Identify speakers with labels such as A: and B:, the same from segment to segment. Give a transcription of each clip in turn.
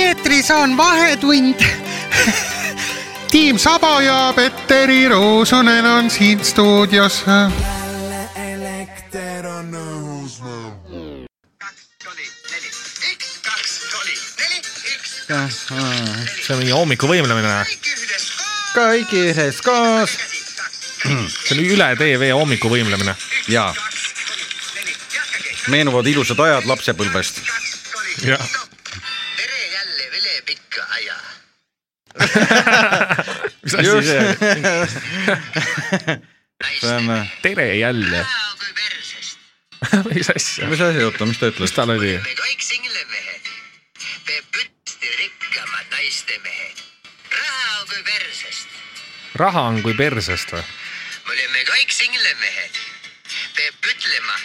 A: eetris on Vahetund tiim Saba ja Petteri Roosonen on siin stuudios .
B: elekter on õhus meil .
C: see on mingi hommikuvõimlemine ,
D: kõigi ühes koos .
C: see on üle TV hommikuvõimlemine .
D: ja meenuvad ilusad ajad lapsepõlvest .
C: jah ,
E: tere jälle Vele Pikka Aia .
C: mis asi see oli ?
D: see on ,
C: tere jälle ,
E: aa kui persest ,
C: mis asja ,
D: mis asi , oota , mis ta ütles
C: mis ? tal oli ?
E: me kõik singlemehed , me pütsti rikkamad naistemehed . raha on kui persest ,
C: raha on kui persest või ?
E: me oleme kõik singlemehed , peab ütlema ,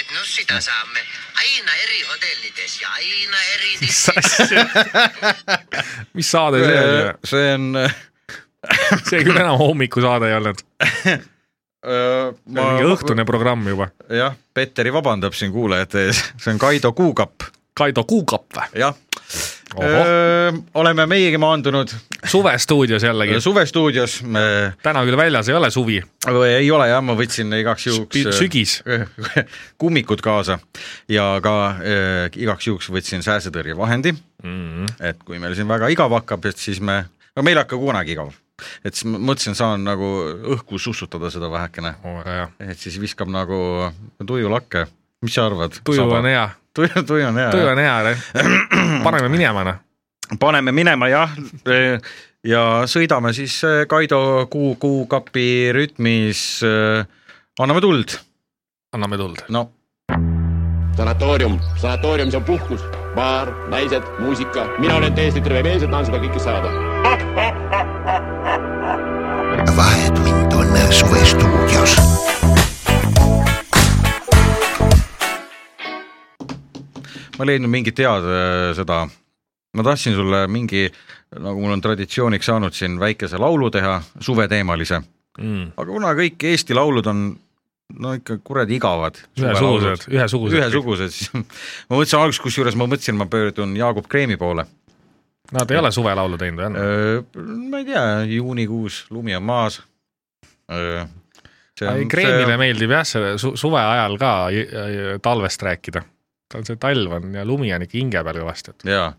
E: et nussida saame aina eri hotellides ja aina eri
C: mis asja , mis saade see oli ?
D: see on ,
C: see küll enam hommikusaade ei olnud , see
D: ma
C: on mingi õhtune programm juba .
D: jah , Petteri vabandab siin kuulajate ees , see on Kaido Kuukapp ,
C: Kaido Kuukap või ?
D: jah .
C: Ohoh.
D: oleme meiegi maandunud
C: Äh. suvestuudios jällegi ,
D: suvestuudios ,
C: täna küll väljas ei ole suvi ,
D: ei ole jah , ma võtsin igaks juhuks äh,
C: sügis ,
D: kummikud kaasa ja ka äh, igaks juhuks võtsin sääsetõrjevahendi mm ,
C: Mhm.
D: -hmm. et kui meil siin väga igav hakkab , et siis me , no meil ei hakka kunagi igav , et siis ma mõtlesin , saan nagu õhku sussutada seda vähekene ,
C: väga Oh, hea .
D: et siis viskab nagu tuju lakke , mis sa arvad ?
C: tuju on hea ,
D: tuju , tuju on hea .
C: tuju on hea , paneme minema noh .
D: paneme minema jah , ja sõidame siis eh, Kaido kuu , kuukapi rütmis , anname tuld ,
C: anname tuld .
D: no
F: sanatoorium , sanatoorium , see on puhkus , baar , naised , muusika , mina olen täiesti terve mees ja tahan seda kõike saada .
B: vahetund on suvestuudios .
D: ma ei leidnud mingit head eh, seda , ma tahtsin sulle mingi , nagu mul on traditsiooniks saanud siin väikese laulu teha , suveteemalise ,
C: Mm.
D: aga kuna kõik Eesti laulud on no ikka kuradi igavad .
C: ühesugused , ühesugused .
D: ühesugused , siis ma mõtlesin alguses , kusjuures ma mõtlesin , ma pöördun Jaagup Kreemi poole .
C: Nad ei ole suvelaulu teinud või on ?
D: ma ei tea , juunikuus lumi on maas .
C: Kreemile meeldib jah , see su suve ajal ka j- j- talvest rääkida . ta on see talv on ja lumi on ikka hinge peal kõvasti , et
D: jaa ,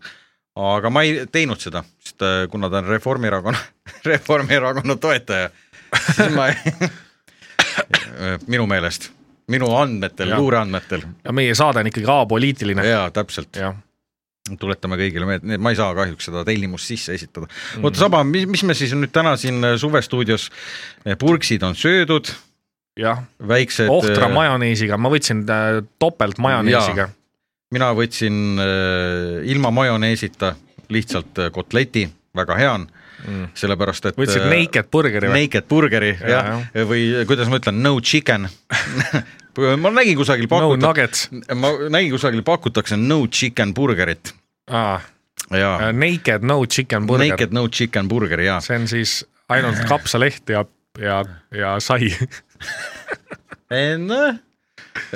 D: aga ma ei teinud seda , sest äh, kuna ta on Reformierakonna , Reformierakonna toetaja , siis ma ei , minu meelest , minu andmetel ,
C: Jah.
D: luureandmetel ,
C: ja meie saade on ikkagi apoliitiline .
D: jaa , täpselt ,
C: jah ,
D: tuletame kõigile meelde , ma ei saa kahjuks seda tellimust sisse esitada .
C: Mhm.
D: oota , Saba , mis , mis me siis nüüd täna siin äh, suvestuudios , purksid on söödud ,
C: jah ,
D: väiksed eh,
C: ohtra majoneesiga , ma võtsin äh, topelt majoneesiga .
D: mina võtsin äh, ilma majoneesita lihtsalt äh, kotleti , väga hea on mm. , sellepärast et
C: võtsid
D: äh,
C: naked burgeri või ?
D: Naked burgeri
C: Jaa,
D: jah ja. , või eh, kuidas ma ütlen , no chicken . ma nägin kusagil
C: no
D: pakuta- ,
C: nuggets ,
D: ma nägin kusagil pakutakse no chicken burgerit ja
C: äh, naked no chicken burger ,
D: naked no chicken burgeri ja
C: see on siis ainult kapsaleht ja , ja , ja sai .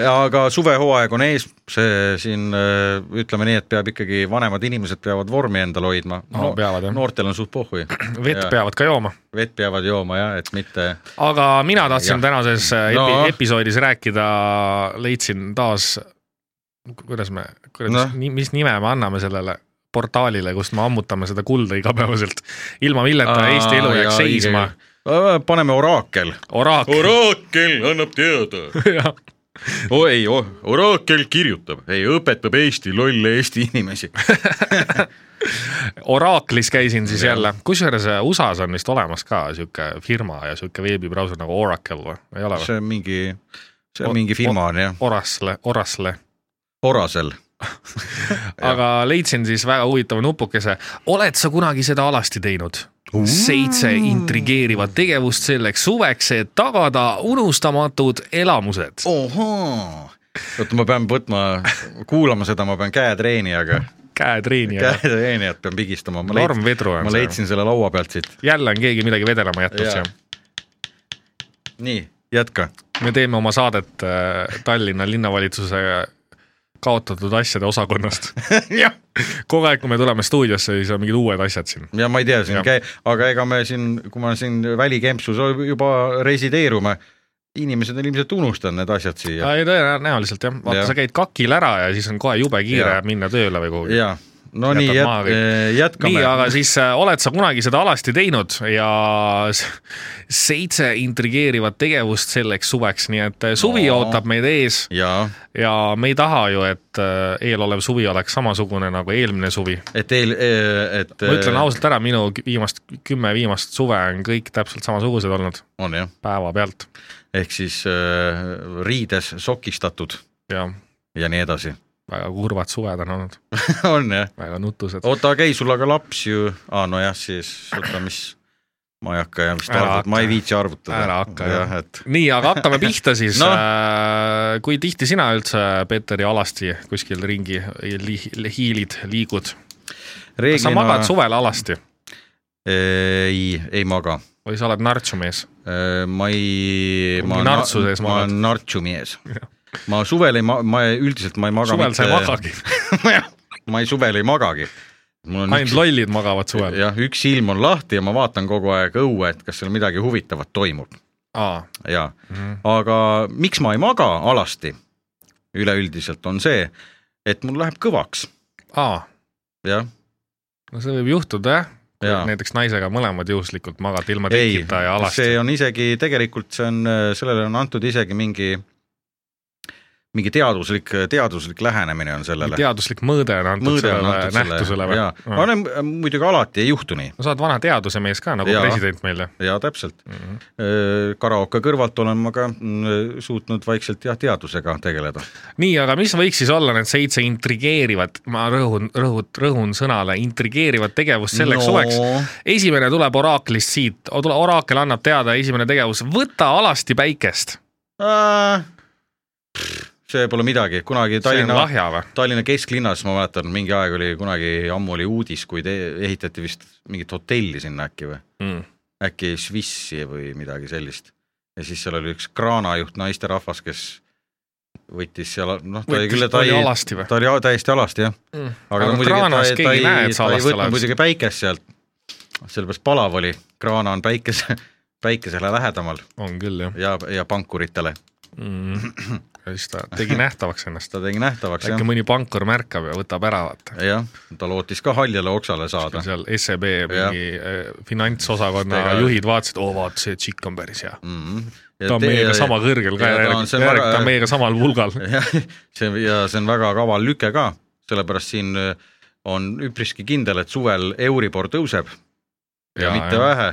D: aga suvehooaeg on ees , see siin äh, ütleme nii , et peab ikkagi vanemad inimesed peavad vormi endal hoidma
C: No peavad, jah.
D: noortel on suht pohhui ,
C: vett
D: Jaa.
C: peavad ka jooma
D: vett peavad jooma ja et mitte
C: aga mina tahtsin
D: Jah.
C: tänases äh, epi no.
D: No.
C: episoodis rääkida , leidsin taas , kuidas me ,
D: Noh.
C: kuidas no. , mis nime me anname sellele portaalile , kust me ammutame seda kulda igapäevaselt , ilma milleta Aa, Eesti elu jääks seisma .
D: Äh, paneme oraakel .
C: oraakel ,
D: oraakel annab teada
C: jah ,
D: oh, . ei oh, , oraakel kirjutab , ei õpetab Eesti lolle Eesti inimesi .
C: oraaklis käisin siis jälle , kusjuures äh, USA-s on vist olemas ka sihuke firma ja sihuke veebibrauser nagu Oracle või , ei ole või ?
D: see on mingi , see
C: O-
D: on mingi firma
C: o-
D: on jah ,
C: Orasle , Orasle
D: Orasel .
C: aga leidsin siis väga huvitava nupukese . oled sa kunagi seda alasti teinud? seitse intrigeerivat tegevust selleks suveks , et tagada unustamatud elamused .
D: Oh. ohoo , oota , ma pean võtma , kuulama seda , ma pean käetreeni , aga
C: käetreeni ja
D: käetreenijat pean pigistama .
C: norm vedru on
D: ma
C: see .
D: leidsin selle laua pealt siit ,
C: jälle on keegi midagi vedelema jätnud
D: Jaa.
C: siia .
D: nii jätka .
C: me teeme oma saadet äh, Tallinna linnavalitsuse kaotatud asjade osakonnast .
D: jah ,
C: kogu aeg , kui me tuleme stuudiosse , siis on mingid uued asjad siin .
D: ja ma ei tea siin
C: Jah. ,
D: aga ega me siin , kui me siin välikempsus juba resideerume , inimesed on ilmselt unustanud need asjad siia
C: ei tõenäoliselt jah , vaata
D: Jah.
C: sa käid kakil ära ja siis on kohe jube kiire
D: Jah.
C: minna tööle või kuhugi .
D: ja no nii ,
C: Jätad maha
D: jät- eh,
C: kõik. ,
D: jätkame .
C: nii , aga siis äh, oled sa kunagi seda alasti teinud ja s- seitse intrigeerivat tegevust selleks suveks , nii et äh, suvi
D: No.
C: no. ootab meid ees
D: jaa ,
C: ja me ei taha ju , et äh, eelolev suvi oleks samasugune nagu eelmine suvi .
D: et eel , et eh,
C: ma ütlen ausalt ära , minu k- viimast , kümme viimast suve on kõik täpselt samasugused olnud
D: on jah ,
C: päevapealt
D: ehk siis äh, riides sokistatud
C: ja
D: ja nii edasi .
C: väga kurvad suved on olnud ,
D: on jah ,
C: väga nutused .
D: oota , aga ei , sul aga laps ju , aa nojah , siis oota , mis , ma ei hakka ja mis
C: Ära
D: arvud , ma ei
C: hakka.
D: viitsi arvutada .
C: Ära hakka,
D: jah
C: jah. ,
D: et
C: nii , aga hakkame pihta siis
D: No.
C: no. . kui tihti sina üldse , Peeter , alasti kuskil ringi li, li, hiilid , liigud ? kas sa magad suvel alasti
D: ei , ei maga Äh,
C: või sa oled nartsumees ?
D: ma ei ,
C: Mingi
D: ma olen
C: nartsu
D: na-
C: sees
D: ma
C: magad.
D: olen nartsu mees . ma suvel ei ma- , ma ei- üldiselt ma ei maga
C: suvel sa ei magagi ,
D: ma ei suvel ei magagi . mul on
C: ainult
D: üks ,
C: lollid magavad suvel .
D: jah , üks silm on lahti ja ma vaatan kogu aeg õue , et kas seal midagi huvitavat toimub
C: aa ,
D: ja mm , -hmm. aga miks ma ei maga alasti üleüldiselt on see , et mul läheb kõvaks ,
C: aa ,
D: jah ,
C: no see võib juhtuda jah .
D: Jaa.
C: näiteks naisega mõlemad juhuslikult magad ilma
D: ei
C: tekita ja , alasti .
D: see on isegi tegelikult see on , sellele on antud isegi mingi mingi teaduslik , teaduslik lähenemine on sellele .
C: teaduslik mõõde on antud
D: mõõde on
C: sellele
D: antud
C: nähtusele
D: sellele ,
C: või
D: jaa ,? aga no muidugi alati ei juhtu nii
C: no sa oled vana teadusemees ka nagu
D: Jaa.
C: ja. president meil ju .
D: ja täpselt mm .
C: Mhm.
D: -hmm. karaoke kõrvalt olen ma ka mm, suutnud vaikselt jah , teadusega tegeleda .
C: nii , aga mis võiks siis olla need seitse intrigeerivat , ma rõhun , rõhun , rõhun sõnale intrigeerivat tegevust selleks
D: No.
C: no. suveks . esimene tuleb oraaklist siit , oraakel annab teada , esimene tegevus , võta alasti päikest .
D: Äh, see pole midagi , kunagi
C: see on
D: Tallinna ,
C: lahja või ?
D: Tallinna kesklinnas ma mäletan , mingi aeg oli kunagi , ammu oli uudis , kui te ehitati vist mingit hotelli sinna äkki või ,
C: mm. .
D: äkki Swissi või midagi sellist . ja siis seal oli üks kraanajuht naisterahvas , kes võttis seal , noh , ta oli küll , ta
C: oli
D: ei ,
C: alasti või ?
D: ta oli täiesti alasti jah .
C: Mm.
D: aga no muidugi ta,
C: kraanas
D: ta, ta
C: keegi
D: ei
C: ei näe , et , sa
D: ta ei
C: alasti
D: võtnud
C: oled .
D: muidugi päikest sealt , sellepärast palav oli , kraana on päikese , päikesele lähedamal
C: on küll jah
D: ja , ja pankuritele ,
C: mm. . siis ta tegi nähtavaks ennast .
D: ta tegi nähtavaks
C: äkki
D: jah ,
C: mõni pankur märkab ja võtab ära , vaata .
D: jah , ta lootis ka haljale oksale saada .
C: seal SEB mingi eh, finantsosakonna
D: Tega-
C: juhid vaatasid , oo vaata , see tšikk on päris hea .
D: Mhm.
C: ta
D: ta
C: on meiega sama kõrgel ka
D: ja ta on
C: järgi ,
D: seal
C: järgi
D: väga-
C: ta on meiega samal pulgal .
D: jah , see ja see on väga kaval lüke ka , sellepärast siin öö, on üpriski kindel , et suvel Euribor tõuseb ja, ja
C: Jaa,
D: mitte
C: jah.
D: ja. vähe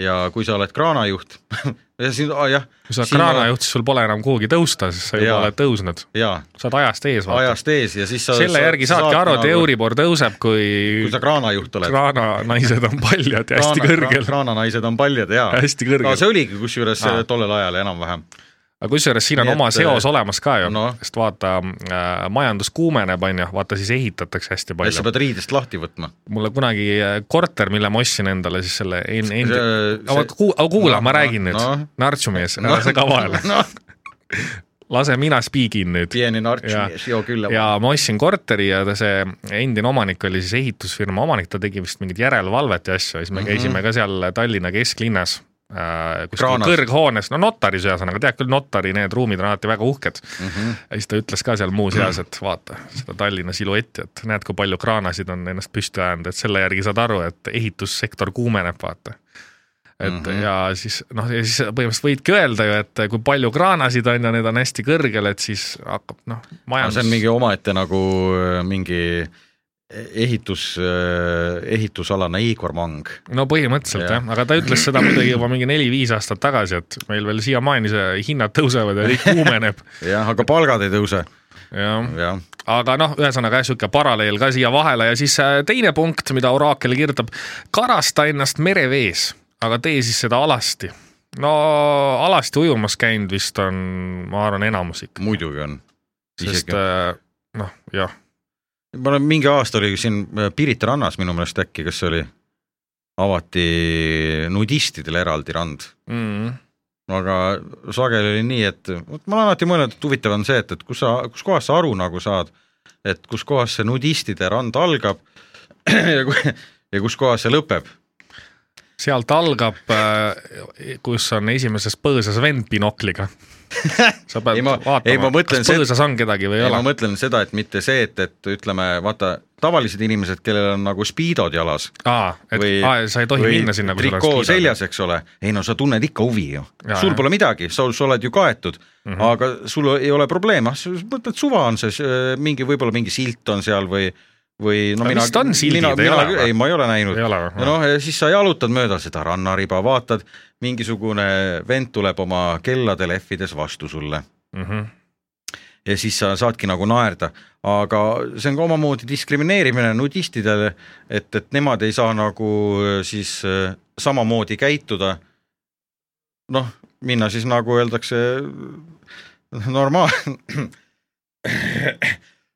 D: ja kui sa oled kraanajuht ja siin oh, , jah ,
C: kui sa oled
D: Siin ma-
C: kraanajuht , siis sul pole enam kuhugi tõusta , sest sa juba
D: Jaa.
C: oled tõusnud ,
D: jaa ,
C: sa oled ajast ees , vaata .
D: ajast ees ja siis sa
C: selle
D: sa-
C: järgi
D: sa
C: saadki aru , et
D: nagu-
C: Euribor tõuseb , kui
D: kui sa kraanajuht oled .
C: kraananaised on paljad ja hästi kõrgel ,
D: kraananaised on paljad ja .
C: hästi
D: aga
C: kõrgel .
D: see oligi kusjuures
C: Aa.
D: äh, tollel ajal enam-vähem .
C: aga kusjuures siin on
D: Nii
C: oma
D: et, äh, noh.
C: seos olemas ka ju
D: no. ,
C: sest vaata äh, , majandus kuumeneb , on ju , vaata siis ehitatakse hästi
D: ja siis sa
C: palju .
D: pead riidest lahti võtma .
C: mulle kunagi äh, korter , mille ma ostsin endale siis selle en- , endi- , aga ku- aga kuula , ma räägin nüüd
D: noh, no. ,
C: nartsumees , ära sega vahele ,
D: noh ,
C: lase mina spiigin nüüd .
D: Pieni
C: Jaa.
D: nartsimees , joo küll .
C: ja ma ostsin korteri ja ta see endine omanik oli siis ehitusfirma omanik , ta tegi vist mingit järelevalvet ja asju ja siis me
D: Mhm.
C: käisime mm -hmm. ka seal Tallinna kesklinnas äh, kuskil
D: Kraanas.
C: kõrghoones , no notaris ühesõnaga , tead küll , notari need ruumid on alati väga uhked mm .
D: Mhm.
C: -hmm. ja siis ta ütles ka seal muuseas , et vaata seda Tallinna siluetti , et näed , kui palju kraanasid on ennast püsti ajanud , et selle järgi saad aru , et ehitussektor kuumeneb , vaata et mm
D: Mhm.
C: -hmm. ja siis noh , ja siis põhimõtteliselt võidki öelda ju , et kui palju kraanasid on ja need on hästi kõrgel , et siis hakkab noh , majandus .
D: see on mingi omaette nagu äh, mingi eh, ehitus , ehitusalane Igor Mang .
C: no põhimõtteliselt
D: Jah.
C: jah , aga ta ütles seda muidugi juba mingi neli-viis aastat tagasi , et meil veel siiamaani see hinnad tõusevad ja kõik kuumeneb
D: jah , aga palgad ei tõuse .
C: jah ,
D: jah ,
C: aga noh , ühesõnaga jah , sihuke paralleel ka siia vahele ja siis äh, teine punkt , mida oraakel kirjutab , karasta ennast merevees , aga tee siis seda alasti . no alasti ujumas käinud vist on , ma arvan , enamus ikka ,
D: muidugi on .
C: sest äh, noh , jah ,
D: ma olen mingi aasta oli siin äh, Pirita rannas minu meelest äkki , kas see oli , avati nudistidele eraldi rand ,
C: Mm-hmm.
D: aga sageli oli nii , et vot ma olen alati mõelnud , et huvitav on see , et , et kus sa , kus kohas sa aru nagu saad , et kus kohas see nudistide rand algab ja, ku- ja kus kohas see lõpeb
C: sealt algab , kus on esimeses põõsas vend binokliga . sa pead
D: Ei, ma- ei, ma
C: vaatama ,
D: mõtlen
C: kas
D: se-
C: põõsas on kedagi või ei
D: ja ma
C: ole .
D: mõtlen seda , et mitte see , et , et ütleme , vaata tavalised inimesed , kellel on nagu spiidod jalas
C: aa , et
D: või
C: aa, sa ei tohi
D: või
C: minna sinna , kui
D: trikoo seljas , eks ole , ei no sa tunned ikka huvi ju
C: Jaa, , Mhm.
D: sul
C: jah.
D: pole midagi , sa , sa oled ju kaetud mm , -hmm. aga sul ei ole probleeme , mõtled suva on see , mingi võib-olla mingi silt on seal või või no
C: Aga
D: mina
C: vist on sildid, ei ole või?
D: ei , ma ei ole näinud .
C: Ei ole või?
D: ja noh , siis sa jalutad mööda seda rannariba , vaatad , mingisugune vend tuleb oma kella lehvides vastu sulle
C: Mhm.
D: ja siis sa saadki nagu naerda , aga see on ka omamoodi diskrimineerimine nudistidele , et , et nemad ei saa nagu siis äh, samamoodi käituda . noh , minna siis nagu öeldakse äh, normaal- ,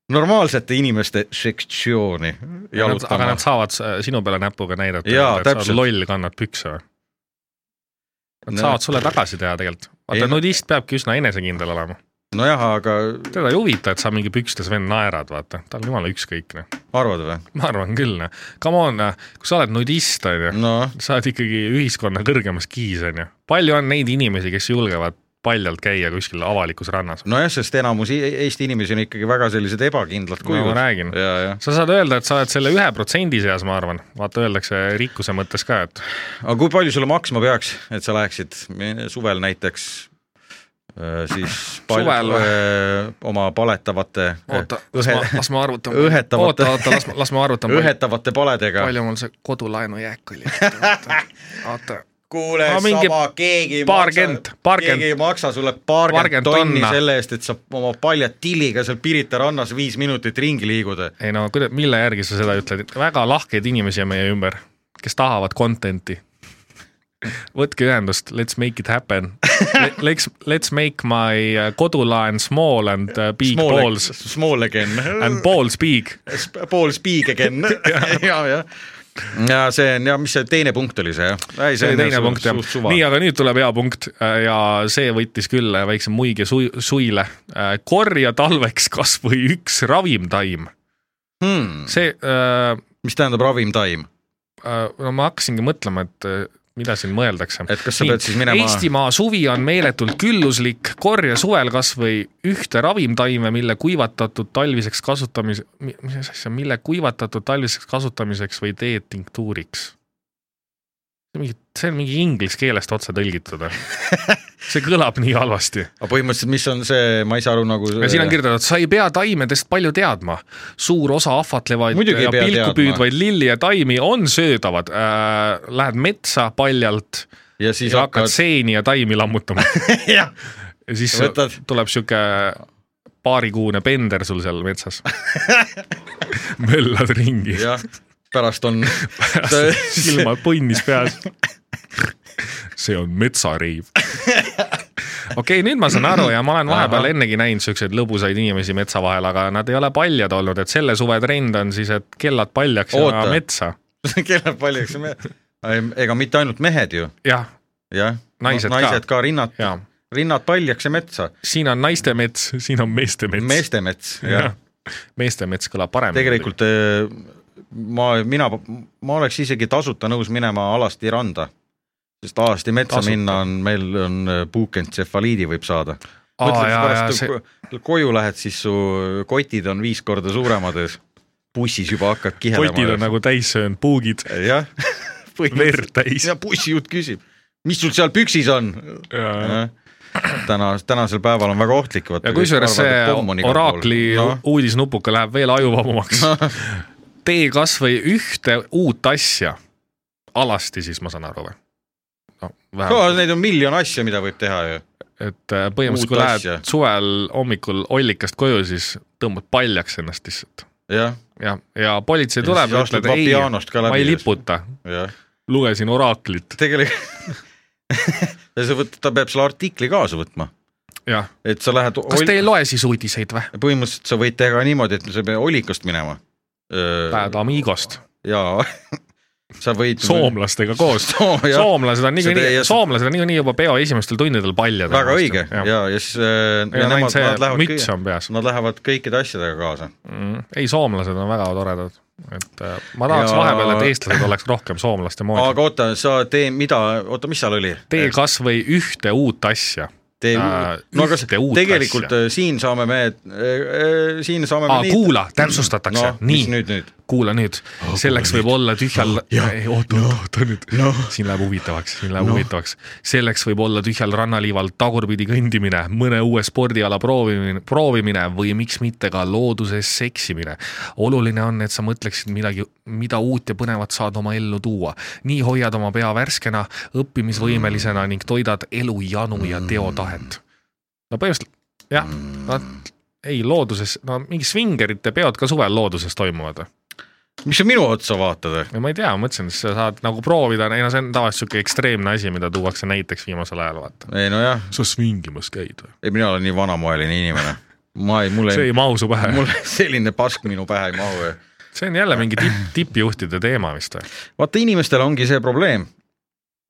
D: normaalsete inimeste sektsiooni
C: aga
D: jalutama
C: nad . saavad s- sinu peale näpuga näidata ,
D: Jaa,
C: et sa oled
D: täpselt.
C: loll , kannad pükse või ? Nad
D: No-
C: saavad sulle tagasi teha tegelikult .
D: Ei,
C: vaata ,
D: no-
C: nudist peabki üsna enesekindel olema .
D: nojah , aga
C: teda ei huvita , et sa mingi pükstes vend naerad , vaata . tal on jumala ükskõik , noh .
D: arvad või ?
C: ma arvan küll , noh . Come on , kui sa oled nudist , on ju ,
D: noh ,
C: sa oled ikkagi ühiskonna kõrgemas kiis , on ju . palju on neid inimesi , kes julgevad paljalt käia kuskil avalikus rannas ?
D: nojah , sest enamus i- Eesti inimesi on ikkagi väga sellised ebakindlad
C: No ma
D: kujud .
C: räägin.
D: ja , ja ,
C: sa saad öelda , et sa oled selle ühe protsendi seas , ma arvan . vaata , öeldakse rikkuse mõttes ka , et
D: aga kui palju sulle maksma peaks , et sa läheksid mi- suvel näiteks äh, siis pal-
C: Suvel või?
D: äh, oma paletavate ,
C: oota , eh, las ma , las ma arvutan .
D: Ühetavate-
C: oota , oota , las ma , las ma arvutan .
D: ühetavate paledega .
C: palju mul see kodulaenujääk oli ? oota ,
D: kuule
C: Ma mingi sama,
D: keegi
C: ei paarkümmend, maksa- paarkümmend-
D: keegi ei maksa sulle paarkümmend
C: paarkümmend
D: tonni
C: tonna.
D: selle eest , et sa oma palja tilliga seal Pirita rannas viis minutit ringi liiguda .
C: ei no kuida- , mille järgi sa seda ütled , väga lahkeid inimesi on meie ümber , kes tahavad content'i . võtke ühendust , let's make it happen . Let's , let's make my uh, kodulaen small and uh, big small balls
D: Small again .
C: and balls big .
D: pool speak again . ja , ja . ja see on ja mis see teine punkt oli see jah ? ei ,
C: see oli teine punkt jah . nii , aga nüüd tuleb hea punkt äh, ja see võttis küll äh, väikse muige sui- , suile . korja talveks kasvõi üks ravimtaim .
D: hmm. .
C: see äh, ,
D: mis tähendab ravimtaim ?
C: äh, no ma hakkasingi mõtlema , et äh, mida siin mõeldakse .
D: Et kas sa pead siis minema-
C: Eestimaa suvi on meeletult külluslik , korja suvel kas või ühte ravimtaime , mille kuivatatud talviseks kasutamise , mis asja , mille kuivatatud talviseks kasutamiseks või teed tinktuuriks . mingi , see on mingi inglise keelest otse tõlgitud . see kõlab nii halvasti .
D: aga põhimõtteliselt , mis on see , ma ei saa aru nagu .
C: ja siin on . kirjutatud , sa ei pea taimedest palju teadma . suur osa ahvatlevaid
D: Muidugi ei
C: ja
D: pea
C: pilku
D: teadma.
C: püüdvaid lilli ja taimi on söödavad äh, . Lähed metsa paljalt
D: ja siis
C: ja hakkad
D: hakkad .
C: seeni ja taimi lammutama .
D: jah ,
C: ja siis
D: Võtad-
C: Võtad. tuleb sihuke paarikuune pender sul seal metsas . möllad ringi ,
D: jah , pärast on .
C: silmad punnis peas . see on metsariiv . okei , nüüd ma saan aru ja ma olen vahepeal
D: Ahah.
C: ennegi näinud siukseid lõbusaid inimesi metsa vahel , aga nad ei ole paljad olnud , et selle suve trend on siis , et kellad paljaks ja
D: Oota.
C: metsa .
D: kellel paljaks me... , ega mitte ainult mehed ju ,
C: jah ,
D: jah .
C: Naised ka.
D: naised ka, ka , rinnad ,
C: ja
D: rinnad paljaks ja metsa ,
C: siin on naiste mets , siin on meeste mets .
D: meeste mets , jah .
C: meeste mets kõlab paremini .
D: tegelikult äh, ma , mina , ma oleks isegi tasuta nõus minema alasti randa , sest alasti metsa
C: Tasuta.
D: tasuta. minna on , meil on äh, puukentsefaliidi võib saada .
C: Aa, jaa, jaa,
D: mõtle ,
C: see-
D: kui koju lähed , siis su kotid on viis korda suuremad ees , bussis juba hakkad kihelema .
C: kotid on nagu täis söönud puugid ,
D: jah ,
C: verd täis .
D: ja bussijuht küsib , mis sul seal püksis on ? täna , tänasel päeval on väga ohtlik .
C: ja kusjuures see oraakli
D: Noh.
C: no. uudisnupuke läheb veel ajuvabamaks . tee kasvõi ühte uut asja . alasti siis ma saan aru või ? no
D: no
C: vähemalt ,
D: neid on miljon asja , mida võib teha ju .
C: et äh, põhimõtteliselt kui
D: uut
C: lähed
D: asja.
C: suvel hommikul ollikast koju , siis tõmbad paljaks ennast lihtsalt .
D: jah ,
C: jah , ja politsei
D: Ja
C: tuleb
D: siis
C: ja
D: astud
C: ütleb ei ,
D: Vapianost ka läbi
C: ma ei
D: just.
C: liputa ,
D: jah ,
C: lugesin oraaklit ,
D: tegelikult ja sa võtad , ta peab selle artikli kaasa võtma ,
C: jah .
D: et sa lähed
C: kas te ei loe siis uudiseid või ?
D: põhimõtteliselt sa võid teha niimoodi , et sa ei pea olikast minema .
C: Lähed Amigost
D: jaa , sa võid
C: soomlastega koos
D: Soo- jah.
C: soomlased on
D: See teie-
C: niikuinii , soomlased on niikuinii juba peo esimestel tundidel paljad .
D: väga õige ja, ja , ja siis äh, ja
C: on
D: nemad,
C: ainult see
D: nad lähevad
C: müts on peas. Mm.
D: Nad lähevad kõikide asjadega kaasa .
C: ei , soomlased on väga toredad , et äh, ma tahaks ja...
D: Ja-
C: vahepeal , et eestlased oleks rohkem soomlaste moodi .
D: aga oota , sa tee mida , oota , mis seal oli ?
C: tee kasvõi ühte uut asja .
D: tee
C: Äh,
D: uut , no aga
C: ühte uut
D: tegelikult
C: asja.
D: asja. siin saame me , siin saame
C: aa
D: me ,
C: kuula , täpsustatakse
D: No, , mis
C: nii
D: nüüd nüüd? ,
C: kuula nüüd , selleks võib olla tühjal , oota , oota nüüd , siin läheb huvitavaks , siin läheb huvitavaks . selleks võib olla tühjal rannaliival tagurpidi kõndimine , mõne uue spordiala proovimine , proovimine või miks mitte ka looduses seksimine . oluline on , et sa mõtleksid midagi , mida uut ja põnevat saad oma ellu tuua . nii hoiad oma pea värskena , õppimisvõimelisena ning toidad elu janu ja teotahet . no põhimõtteliselt jah , no ei looduses , no mingi svingerite peod ka suvel looduses toimuvad või ?
D: miks sa minu otsa vaatad ?
C: no ma ei tea , ma mõtlesin , et sa saad nagu proovida , ei no see on tavaliselt sihuke ekstreemne asi , mida tuuakse näiteks viimasel ajal , vaata .
D: ei nojah ,
C: sa svingimas käid või ?
D: ei mina olen nii vanamoeline inimene . ma ei , mul
C: see
D: ei
C: ei , mahu su pähe
D: mul
C: Mul... .
D: selline pask minu pähe ei mahu .
C: see on jälle mingi tipp , tippjuhtide teema vist või ?
D: vaata , inimestel ongi see probleem .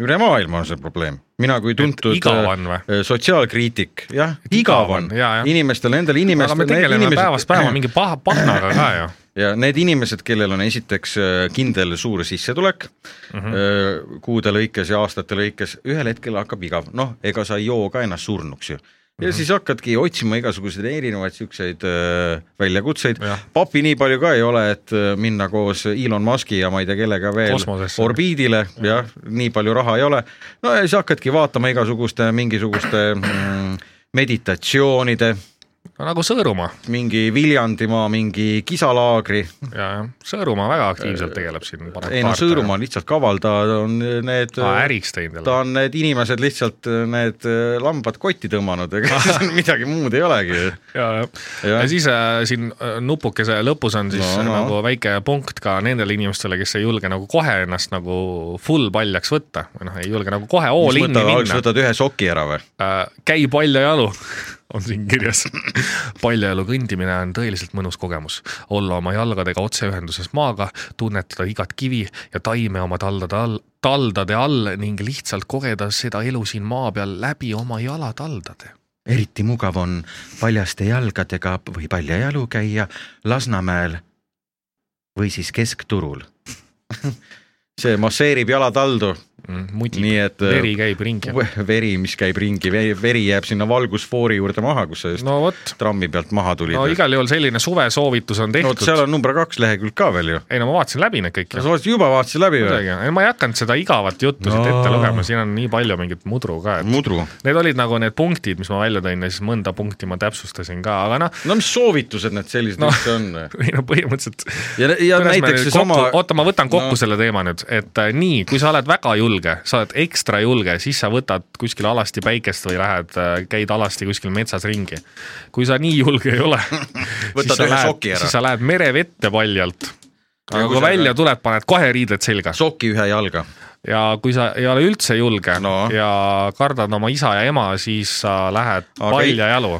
D: üle maailma on see probleem . mina kui tuntud
C: igav on või ?
D: äh, sotsiaalkriitik , jah ,
C: Et
D: igav
C: igav
D: on
C: on, jaa, jah.
D: inimestel endal ,
C: aga
D: inimestel .
C: me tegeleme inimesed... päevast päeva mingi paha , pahnaga ka ju .
D: ja need inimesed , kellel on esiteks äh, kindel suur sissetulek mm
C: Mhm.
D: -hmm. kuude lõikes ja aastate lõikes , ühel hetkel hakkab igav , noh , ega sa ei joo ka ennast surnuks ju . ja mm
C: Mhm.
D: -hmm. siis hakkadki otsima igasuguseid erinevaid siukseid äh, väljakutseid
C: Jah. .
D: papi nii palju ka ei ole , et äh, minna koos Elon Musk'i ja ma ei tea , kellega veel
C: Kosmosesse. Mhm.
D: orbiidile , jah , nii palju raha ei ole . no ja siis hakkadki vaatama igasuguste mingisuguste mm, meditatsioonide ,
C: no nagu Sõõrumaa ,
D: mingi Viljandimaa mingi kisalaagri
C: ja , ja Sõõrumaa väga aktiivselt tegeleb siin .
D: ei no Sõõrumaa on lihtsalt kaval , ta on need
C: aa , äriks teinud jälle
D: ta . on need inimesed lihtsalt need äh, lambad kotti tõmmanud , ega siis midagi muud ei olegi .
C: ja , ja , ja
D: Jah.
C: siis äh, siin äh, nupukese lõpus on siis
D: No,
C: no,
D: no.
C: no. nagu väike punkt ka nendele inimestele , kes ei julge nagu kohe ennast nagu full paljaks võtta või noh , ei julge nagu kohe all in'i minna .
D: võtad ühe soki ära või ?
C: Äh, käi paljajalu , on siin kirjas . paljajalu kõndimine on tõeliselt mõnus kogemus . olla oma jalgadega otseühenduses maaga , tunnetada igat kivi ja taime oma taldade all , taldade all ning lihtsalt kogeda seda elu siin maa peal läbi oma jalataldade .
D: eriti mugav on paljaste jalgadega või paljajalu käia Lasnamäel või siis Keskturul . see masseerib jalataldu ,
C: Mm, muti ,
D: nii et äh,
C: veri käib ringi .
D: veri , mis käib ringi , veri jääb sinna valgusfoori juurde maha , kus sa just
C: no vot ,
D: trammi pealt maha tulid
C: no . igal juhul selline suvesoovitus on
D: no vot , seal
C: tehtud .
D: on number kaks lehekülg ka veel ju .
C: ei no ma vaatasin läbi need kõik
D: kas . sa vaatasid juba vaatasid läbi või ?
C: ei , ma ei hakanud seda igavat juttu siit
D: No.
C: ette lugema , siin on nii palju mingit mudru ka , et
D: mudru .
C: Need olid nagu need punktid , mis ma välja tõin ja siis mõnda punkti ma täpsustasin ka , aga noh ,
D: no mis soovitused need sellised no.
C: No.
D: üldse on ?
C: ei no põhimõtteliselt .
D: ja , ja näiteks seesama ,
C: oota , ma võtan kokku
D: No.
C: no. selle teema nüüd , et äh, nii , kui sa oled väga julge , sa oled ekstra julge , siis sa võtad kuskil alasti päikest või lähed , käid alasti kuskil metsas ringi . kui sa nii julge ei ole , siis
D: Võtad
C: sa
D: ühe
C: lähed
D: soki , ära.
C: siis sa lähed merevette paljalt .
D: Ja
C: aga
D: kui
C: kui
D: sa-
C: välja tuled , paned kohe riided selga
D: soki ühe jalga .
C: ja kui sa ei ole üldse julge
D: No.
C: ja kardad oma isa ja ema , siis sa lähed
D: Aga
C: paljajalu .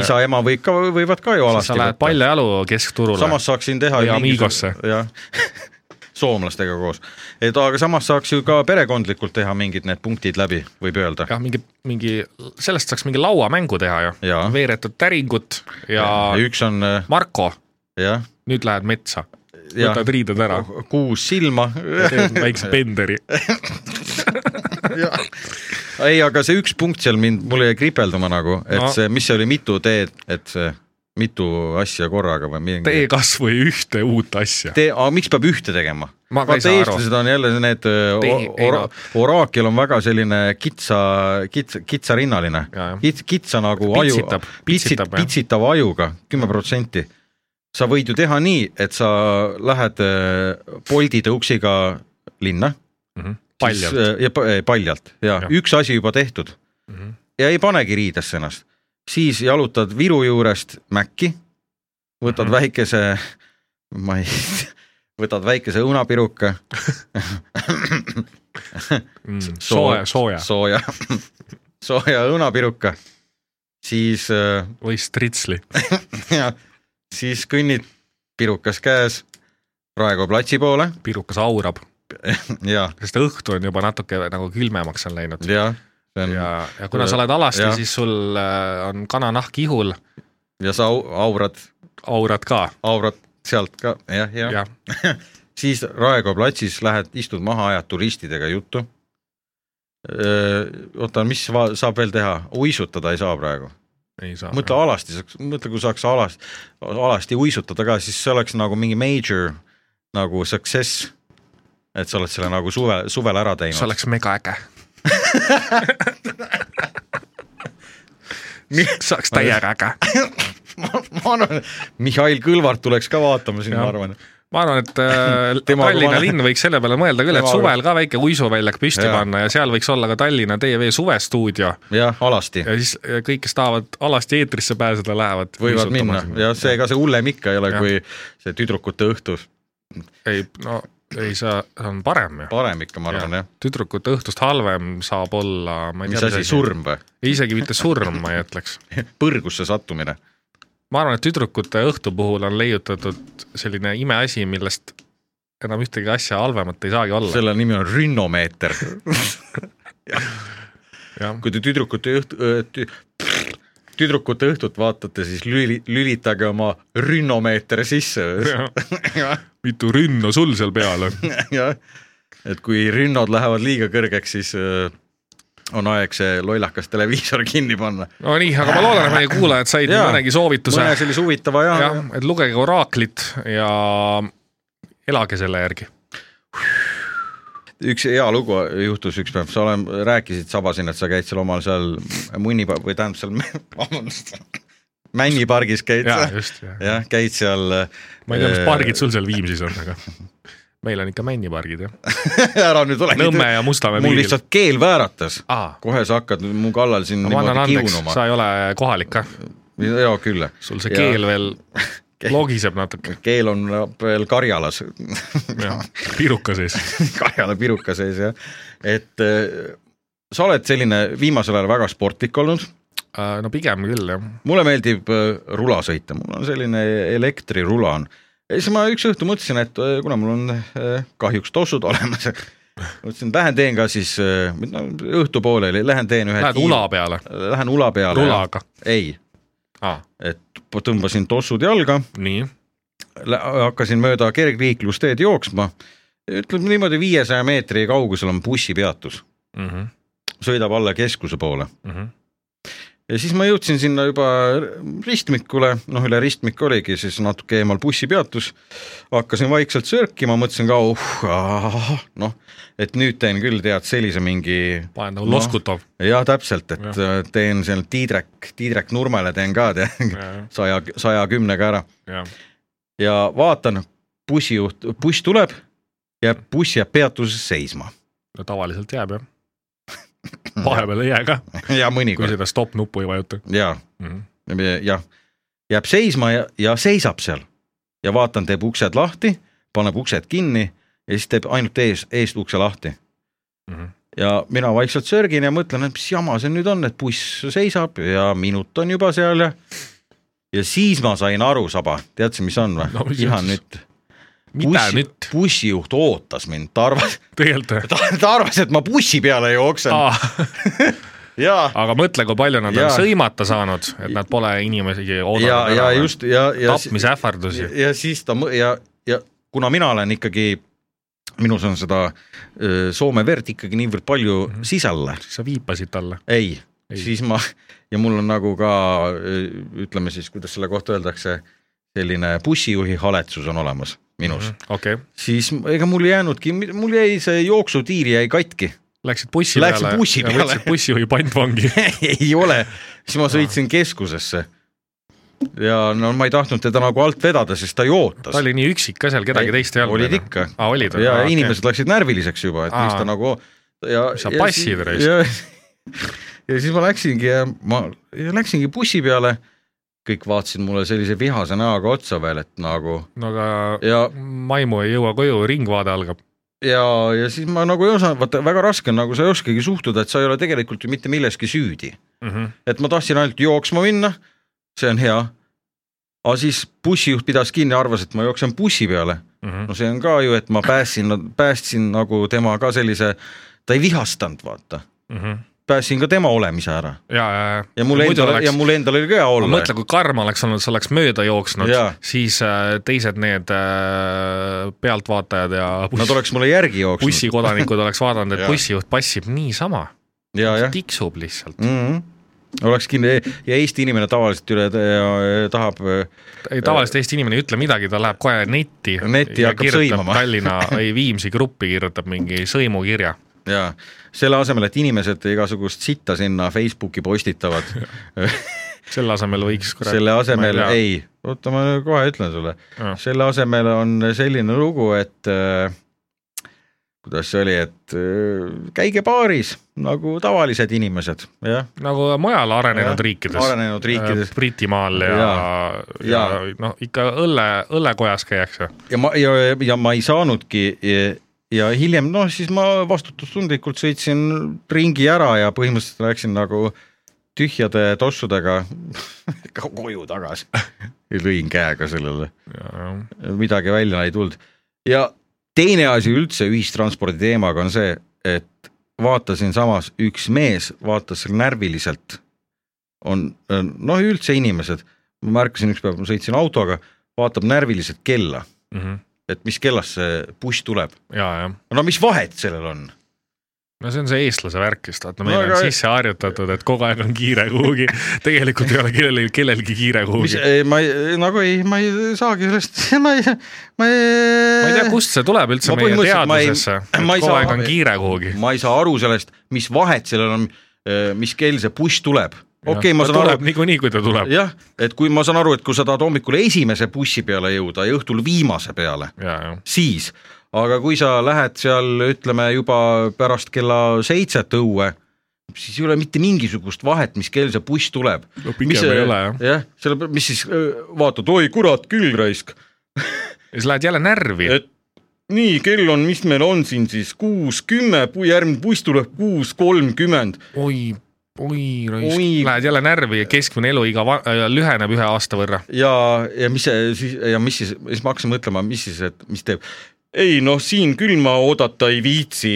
D: isa , ema võib ka , võivad ka ju
C: sa
D: alasti
C: lähed . paljajalu keskturule .
D: samas saaksin teha
C: Või Amigosse. .
D: jah , soomlastega koos . et aga samas saaks ju ka perekondlikult teha mingid need punktid läbi , võib öelda .
C: jah , mingi , mingi , sellest saaks mingi lauamängu teha ju
D: Jaa. .
C: veeretad täringut ja, ja
D: üks on äh,
C: Marko ,
D: jah ,
C: nüüd lähed metsa ,
D: Jah.
C: võtad riided ära ,
D: kuus silma .
C: teed väikse penderi .
D: ei , aga see üks punkt seal mind , mul jäi kripeldama nagu , et no.
C: No.
D: see , mis see oli , mitu teed , et see mitu asja korraga või mingi .
C: tee kasvõi ühte uut asja .
D: tee , aga miks peab ühte tegema ?
C: Ma ka ei saa aru.
D: eestlased on jälle need
C: Tee-
D: or,
C: ei
D: or,
C: no.
D: oraakel on väga selline kitsa , kitsa , kitsarinnaline
C: Jaa, jah.
D: Kits, , kitsa nagu
C: Pitsitab,
D: aju ,
C: pitsitab, jah.
D: pitsitava ajuga kümme protsenti . sa võid ju teha nii , et sa lähed äh, Bolti tõuksiga linna ,
C: Mhm. paljalt ,
D: äh, ja pa- ei, paljalt ja, ja.
C: Jah. Mhm.
D: üks asi juba tehtud mm . -hmm. ja ei panegi riidesse ennast , siis jalutad Viru juurest Mäkki , võtad
C: Mhm.
D: mm -hmm. väikese , ma ei , võtad väikese õunapiruka
C: sooja , Mm. sooja
D: sooja , sooja õunapiruka , siis äh,
C: või stritsli .
D: ja siis kõnnid pirukas käes Raekoja platsi poole ,
C: pirukas aurab ,
D: ja ,
C: sest õhtu on juba natuke nagu külmemaks on läinud ja ,
D: ja see on
C: ja, ja kuna sa oled alasti
D: Jah. ,
C: siis sul äh, on kananahk ihul ,
D: ja sa au- aurad ,
C: aurad ka
D: aurad sealt ka , jah , jah ja. ,
C: ja
D: siis Raekoja platsis lähed , istud maha , ajad turistidega juttu . oota , mis va- saab veel teha , uisutada ei saa praegu ,
C: ei saa .
D: mõtle alasti saaks , mõtle , kui saaks alast , alasti uisutada ka , siis see oleks nagu mingi major nagu success . et sa oled selle nagu suve , suvel ära teinud .
C: see oleks mega äge saaks täiega äge .
D: ma arvan , Mihhail Kõlvart tuleks ka vaatama sinna , ma
C: Jah.
D: arvan .
C: ma arvan , et äh,
D: Temaga
C: Tallinna
D: vana-
C: linn võiks selle peale mõelda küll , et
D: Temaga-
C: suvel ka väike uisuväljak püsti
D: Jaa.
C: panna ja seal võiks olla ka Tallinna TV suvestuudio
D: jah , alasti
C: ja siis äh, kõik , kes tahavad alasti eetrisse pääseda , lähevad .
D: võivad minna ja . seega see hullem ikka ei ole ,
C: Jah.
D: kui see tüdrukute õhtu ,
C: ei , no ei saa , see on parem ju .
D: parem ikka , ma arvan jah .
C: tüdrukute õhtust halvem saab olla , ma ei
D: mis
C: tea .
D: asi , surm või ?
C: isegi mitte surm , ma ei ütleks .
D: põrgusse sattumine .
C: ma arvan , et tüdrukute õhtu puhul on leiutatud selline imeasi , millest enam ühtegi asja halvemat ei saagi olla .
D: selle nimi on rünnomeeter .
C: jah ,
D: kui te tüdrukute õht- , tü, tüdrukute õhtut vaatate , siis lüli- , lülitage oma rünnomeeter sisse .
C: mitu rünna sul seal peal on ?
D: jah , et kui rünnod lähevad liiga kõrgeks , siis öö, on aeg see lollakas televiisor kinni panna .
C: Nonii , aga ma loodan , et meie kuulajad said nii
D: Jaa.
C: mõnegi soovituse ,
D: mõne sellise huvitava ja,
C: jah
D: ja. ,
C: et lugege oraaklit ja elage selle järgi .
D: üks hea lugu juhtus üks päev , sa olen , rääkisid saba siin , et sa käid seal omal seal munni või tähendab seal , vabandust , männipargis käid
C: jaa ,
D: sa
C: just , jah .
D: jah , käid seal . äh,
C: ma ei tea , mis pargid sul seal Viimsis on , aga meil on ikka männipargid , jah .
D: ära nüüd ole .
C: Nõmme ja Mustamäe
D: mul
C: piiril.
D: lihtsalt keel vääratas .
C: aa ,
D: kohe sa hakkad nüüd mu kallal siin
C: ma annan
D: niimoodi
C: andeks ,
D: kiunuma .
C: sa ei ole kohalik ka ,
D: jaa , küll .
C: sul see keel . veel logiseb natuke ,
D: keel on veel Karjalas ,
C: jah , piruka sees .
D: Karjala piruka sees jah , et eh, sa oled selline viimasel ajal väga sportlik olnud
C: Äh, no pigem küll , jah .
D: mulle meeldib äh, rula sõita , mul on selline elektrirula on . ja siis ma üks õhtu mõtlesin , et äh, kuna mul on äh, kahjuks tossud olemas , mõtlesin , et lähen teen ka siis äh, no, õhtu pooleli , lähen teen ühe
C: Lähed ula peale ,
D: peale ? Lähen Äh, ula peale .
C: rulaga .
D: ei ,
C: aa ,
D: et p- tõmbasin tossud jalga ,
C: nii ,
D: hakkasin mööda kergliiklusteed jooksma , ütleme niimoodi viiesaja meetri kaugusel on bussipeatus ,
C: Mhm,
D: sõidab alla keskuse poole ja siis ma jõudsin sinna juba ristmikule , noh üle ristmiku oligi siis natuke eemal bussipeatus , hakkasin vaikselt sörkima , mõtlesin ka uh, noh , et nüüd teen küll tead sellise mingi
C: panen nagu
D: Noh.
C: loskutov .
D: jah , täpselt , et ja. teen seal Tiidrek , Tiidrek Nurmele teen ka tead saja , saja kümnega ära ja vaatan , bussijuht , buss tuleb , jääb , buss jääb peatuses seisma
C: no tavaliselt jääb , jah . vahepeal ei jää ka ,
D: ja
C: kui
D: mõnikord
C: seda stopp-nuppu ei vajuta
D: ja
C: mm . -hmm.
D: jah , jääb seisma ja , ja seisab seal ja vaatan , teeb uksed lahti , paneb uksed kinni ja siis teeb ainult ees , eest ukse lahti .
C: Mhm.
D: ja mina vaikselt sörgin ja mõtlen , et mis jama see nüüd on , et buss seisab ja minut on juba seal ja ja siis ma sain aru , Saba , tead sa , mis on või
C: No mis
D: ihan
C: juhtus?
D: nüüd .
C: mida Bussi... nüüd ,
D: bussijuht ootas mind , ta arvas ,
C: tegelikult ?
D: ta arvas , et ma bussi peale jooksen ah. ja ,
C: aga mõtle , kui palju nad on
D: Jaa.
C: sõimata saanud , et nad pole inimesi oodanud
D: ja , ja just ja , ja .
C: tapmisähvardusi .
D: ja, ja siis ta mõ- ja , ja kuna mina olen ikkagi , minus on seda öö, Soome verd ikkagi niivõrd palju mm -hmm. sisal ,
C: siis sa viipasid talle . Mhm.
D: ei,
C: Ei.
D: ei. , siis ma ja mul on nagu ka öö, ütleme siis , kuidas selle kohta öeldakse , selline bussijuhi haletsus on olemas minus mm , -hmm.
C: okei okay. ,
D: siis m- ega mul ei jäänudki , mul jäi see jooksutiir jäi katki ,
C: läksid bussi
D: Läksin
C: peale
D: bussi
C: ja
D: peale.
C: võtsid bussijuhi pantvangi .
D: ei ole , siis ma
C: Ah.
D: sõitsin keskusesse ja no ma ei tahtnud teda nagu alt vedada , sest ta ju ootas
C: ta . oli nii üksik ka seal , kedagi
D: Ei,
C: teist ei olnud .
D: olid ikka.
C: aa , olid
D: ja okay. inimesed läksid närviliseks juba , et
C: Aa.
D: miks ta nagu ja
C: Sa
D: ja
C: passid
D: siis-
C: raisk.
D: ja- ja siis ma läksingi ja ma ja läksingi bussi peale , kõik vaatasid mulle sellise vihase näoga otsa veel , et nagu
C: no aga
D: ja ,
C: maimu ei jõua koju , ringvaade algab .
D: ja , ja siis ma nagu ei osanud , vaata väga raske on , nagu sa ei oskagi suhtuda , et sa ei ole tegelikult ju mitte milleski süüdi .
C: Mm -hmm.
D: et ma tahtsin ainult jooksma minna , see on hea , aga siis bussijuht pidas kinni, arvas, et ma jooksen bussi peale mm .
C: mhm,
D: -hmm. no see on ka ju, et ma päästsin , päästsin nagu tema ka sellise , ta ei vihastanud , vaata mm .
C: Mhm.
D: päästsin ka tema olemise ära
C: ja , ja , ja .
D: ja mul endal oleks... , ja mul endal oli ka hea
C: ma
D: olla .
C: mõtlen , kui karm oleks olnud , sa oleks mööda jooksnud
D: Jaa. ,
C: siis äh, teised need äh, pealtvaatajad ja
D: Nad
C: buss,
D: oleks mulle järgi jooksnud .
C: bussikodanikud oleks vaadanud , et
D: Jaa.
C: bussijuht passib niisama ,
D: ja , jah
C: tiksub lihtsalt .
D: mm . -hmm. oleks kindel ja Eesti inimene tavaliselt üle ta- tahab
C: ei , tavaliselt Eesti inimene ei ütle midagi , ta läheb kohe netti .
D: Netti hakkab sõimama.
C: Tallinna , ei Viimsi gruppi kirjutab mingi sõimukirja .
D: ja selle asemel , et inimesed igasugust sitta sinna Facebooki postitavad ,
C: selle asemel võiks kurat-
D: selle asemel
C: ma tea.
D: ei , oota , ma kohe ütlen sulle
C: Jah. ,
D: Noh, selle asemel on selline lugu , et äh, kuidas see oli , et äh, käige baaris nagu tavalised inimesed , jah ,
C: nagu mujal arenenud
D: Jah,
C: riikides .
D: arenenud riikides.
C: Britimaal ja, ja,
D: Jaa,
C: ja.
D: jaa.
C: noh , ikka õlle , õllekojas käiakse .
D: ja ma ja , ja ma ei saanudki ja, ja hiljem noh , siis ma vastutustundlikult sõitsin ringi ära ja põhimõtteliselt läksin nagu tühjade tossudega koju tagasi ja lõin käega sellele , midagi välja ei tulnud . ja teine asi üldse ühistranspordi teemaga on see , et vaatasin samas üks mees vaatas seal närviliselt , on noh , üldse inimesed , ma märkasin ükspäev , ma sõitsin autoga , vaatab närviliselt kella
C: mhm.
D: et mis kellast see buss tuleb .
C: ja , ja
D: no mis vahet sellel on ?
C: no see on see eestlase värk vist , vaata meil
D: No
C: no,
D: aga-
C: on sisse harjutatud , et kogu aeg on kiire kuhugi , tegelikult ei ole kellelgi , kellelgi kiire
D: mis
C: kuhugi .,
D: ma ei , nagu ei , ma ei saagi sellest , ma ei , ma ei .
C: ma ei tea , kust see tuleb üldse
D: Ma
C: meie
D: põhimõtteliselt ma ei-
C: teadvusesse , et
D: ma ei
C: kogu
D: saa-
C: aeg on kiire kuhugi .
D: ma ei saa aru sellest , mis vahet sellel on , mis kell see buss tuleb . okei , ma saan
C: tuleb
D: aru ,
C: niikuinii , kui ta tuleb .
D: jah , et kui ma saan aru , et kui sa tahad hommikul esimese bussi peale jõuda ja õhtul viimase peale ,
C: ja , ja ,
D: siis , aga kui sa lähed seal , ütleme juba pärast kella seitset õue , siis ei ole mitte mingisugust vahet , mis kell see buss tuleb
C: No pigem ei ole, jah.
D: jah . jah , selle , mis siis öö, vaatad , oi kurat küll raisk ,
C: ja siis lähed jälle närvi .
D: et nii , kell on , mis meil on siin siis kuus kümme , järgmine buss tuleb kuus kolmkümmend .
C: oi , oi raisk
D: Oi. ,
C: lähed jälle närvi ja keskmine eluiga va- äh, lüheneb ühe aasta võrra .
D: ja , ja mis see siis ja mis siis , siis ma hakkasin mõtlema , mis siis , et mis teeb . ei noh , siin küll ma oodata ei viitsi .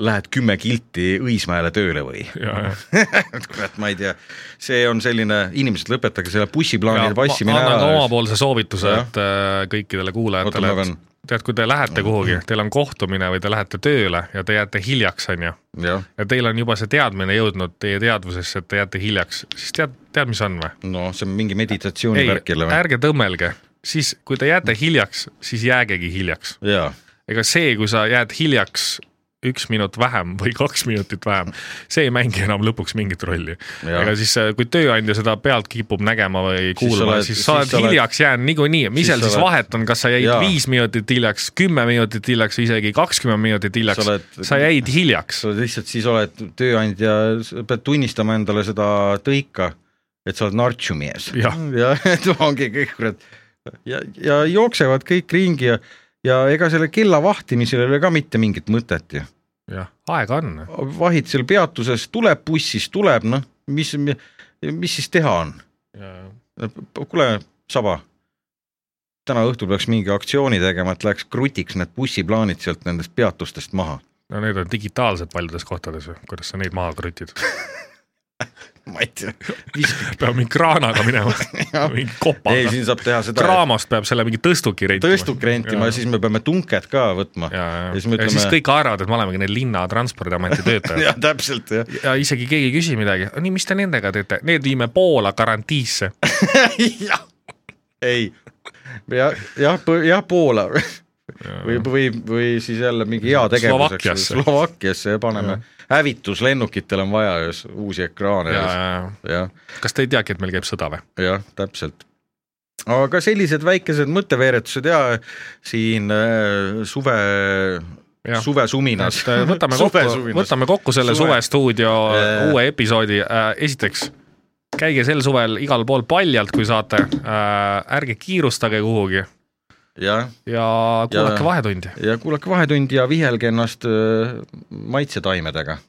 D: Lähed kümme kilti Õismäele tööle või ? kurat , ma ei tea , see on selline , inimesed , lõpetage selle bussiplaanide passimine
C: annan ka
D: ära .
C: omapoolse soovituse ,
D: Jah.
C: et äh, kõikidele kuulajatele
D: Oota, ma , Mm.
C: et
D: pean-
C: tead , kui te lähete kuhugi , teil on kohtumine või te lähete tööle ja te jääte hiljaks , onju ,
D: jah ,
C: ja teil on juba see teadmine jõudnud teie teadvusesse , et te jääte hiljaks , siis tead , tead , mis on või ?
D: no see on mingi
C: ei
D: meditatsioonivärk jälle , või ?
C: ärge tõmmelge , siis kui te jääte hiljaks , siis jäägegi hiljaks .
D: jaa ,
C: ega see , kui sa jääd hiljaks üks minut vähem või kaks minutit vähem , see ei mängi enam lõpuks mingit rolli .
D: Jaa.
C: ega siis , kui tööandja seda pealt kipub nägema või kuulama ,
D: oled-
C: siis sa oled
D: siis sa oled-
C: hiljaks jäänud niikuinii , mis
D: siis
C: seal
D: sa
C: siis
D: oled-
C: vahet on , kas sa jäid
D: Jaa.
C: viis minutit hiljaks , kümme minutit hiljaks , isegi kakskümmend minutit hiljaks
D: Sa oled- ,
C: sa jäid hiljaks .
D: sa oled lihtsalt siis oled tööandja , pead tunnistama endale seda tõika , et sa oled nartsumees .
C: Jah.
D: ja et ongi kõik kurat ja , ja jooksevad kõik ringi ja , ja ega selle kella vahtimisel ei ole ka mitte mingit mõtet ju .
C: jah , aega on .
D: vahid seal peatuses , tuleb buss , siis tuleb , noh , mis , mis siis teha on ? kuule , Saba , täna õhtul peaks mingi aktsiooni tegema , et läheks krutiks need bussiplaanid sealt nendest peatustest maha .
C: no need on digitaalsed paljudes kohtades ju , kuidas sa neid maha krutid .
D: ma ei tea .
C: peab mingi kraanaga minema , mingi
D: ei ,
C: kopaga .
D: siin saab teha seda .
C: kraamast peab selle mingi tõstuki rentima .
D: tõstuk rentima ja siis me peame tunked ka võtma .
C: ja , ja, ja
D: siis me
C: ütleme... siis
D: ütleme ,
C: kõik arvavad , et me olemegi need linna transpordiameti töötajad
D: jah , täpselt jah .
C: ja isegi keegi ei küsi midagi , nii , mis te nendega teete , need viime Poola garantiisse .
D: jah , ei , jah , jah , jah , Poola või , või , või siis jälle mingi hea tegevuseks
C: Slovakkiasse.
D: Slovakkiasse ja paneme , hävituslennukitel on vaja ju s- uusi ekraane ja jah ,
C: kas te ei teagi , et meil käib sõda või ?
D: jah , täpselt aga sellised väikesed mõtteveeretused ja siin äh, suve
C: Jah. ,
D: suvesuminas
C: et . äh, võtame kokku , võtame kokku selle
D: Suve-
C: suvestuudio
D: Äh.
C: uue episoodi , esiteks käige sel suvel igal pool paljalt , kui saate , ärge kiirustage kuhugi
D: jah
C: ja kuulake Vahetundi . äh,
D: ja kuulake Vahetund ja vihelge ennast öö, maitsetaimedega .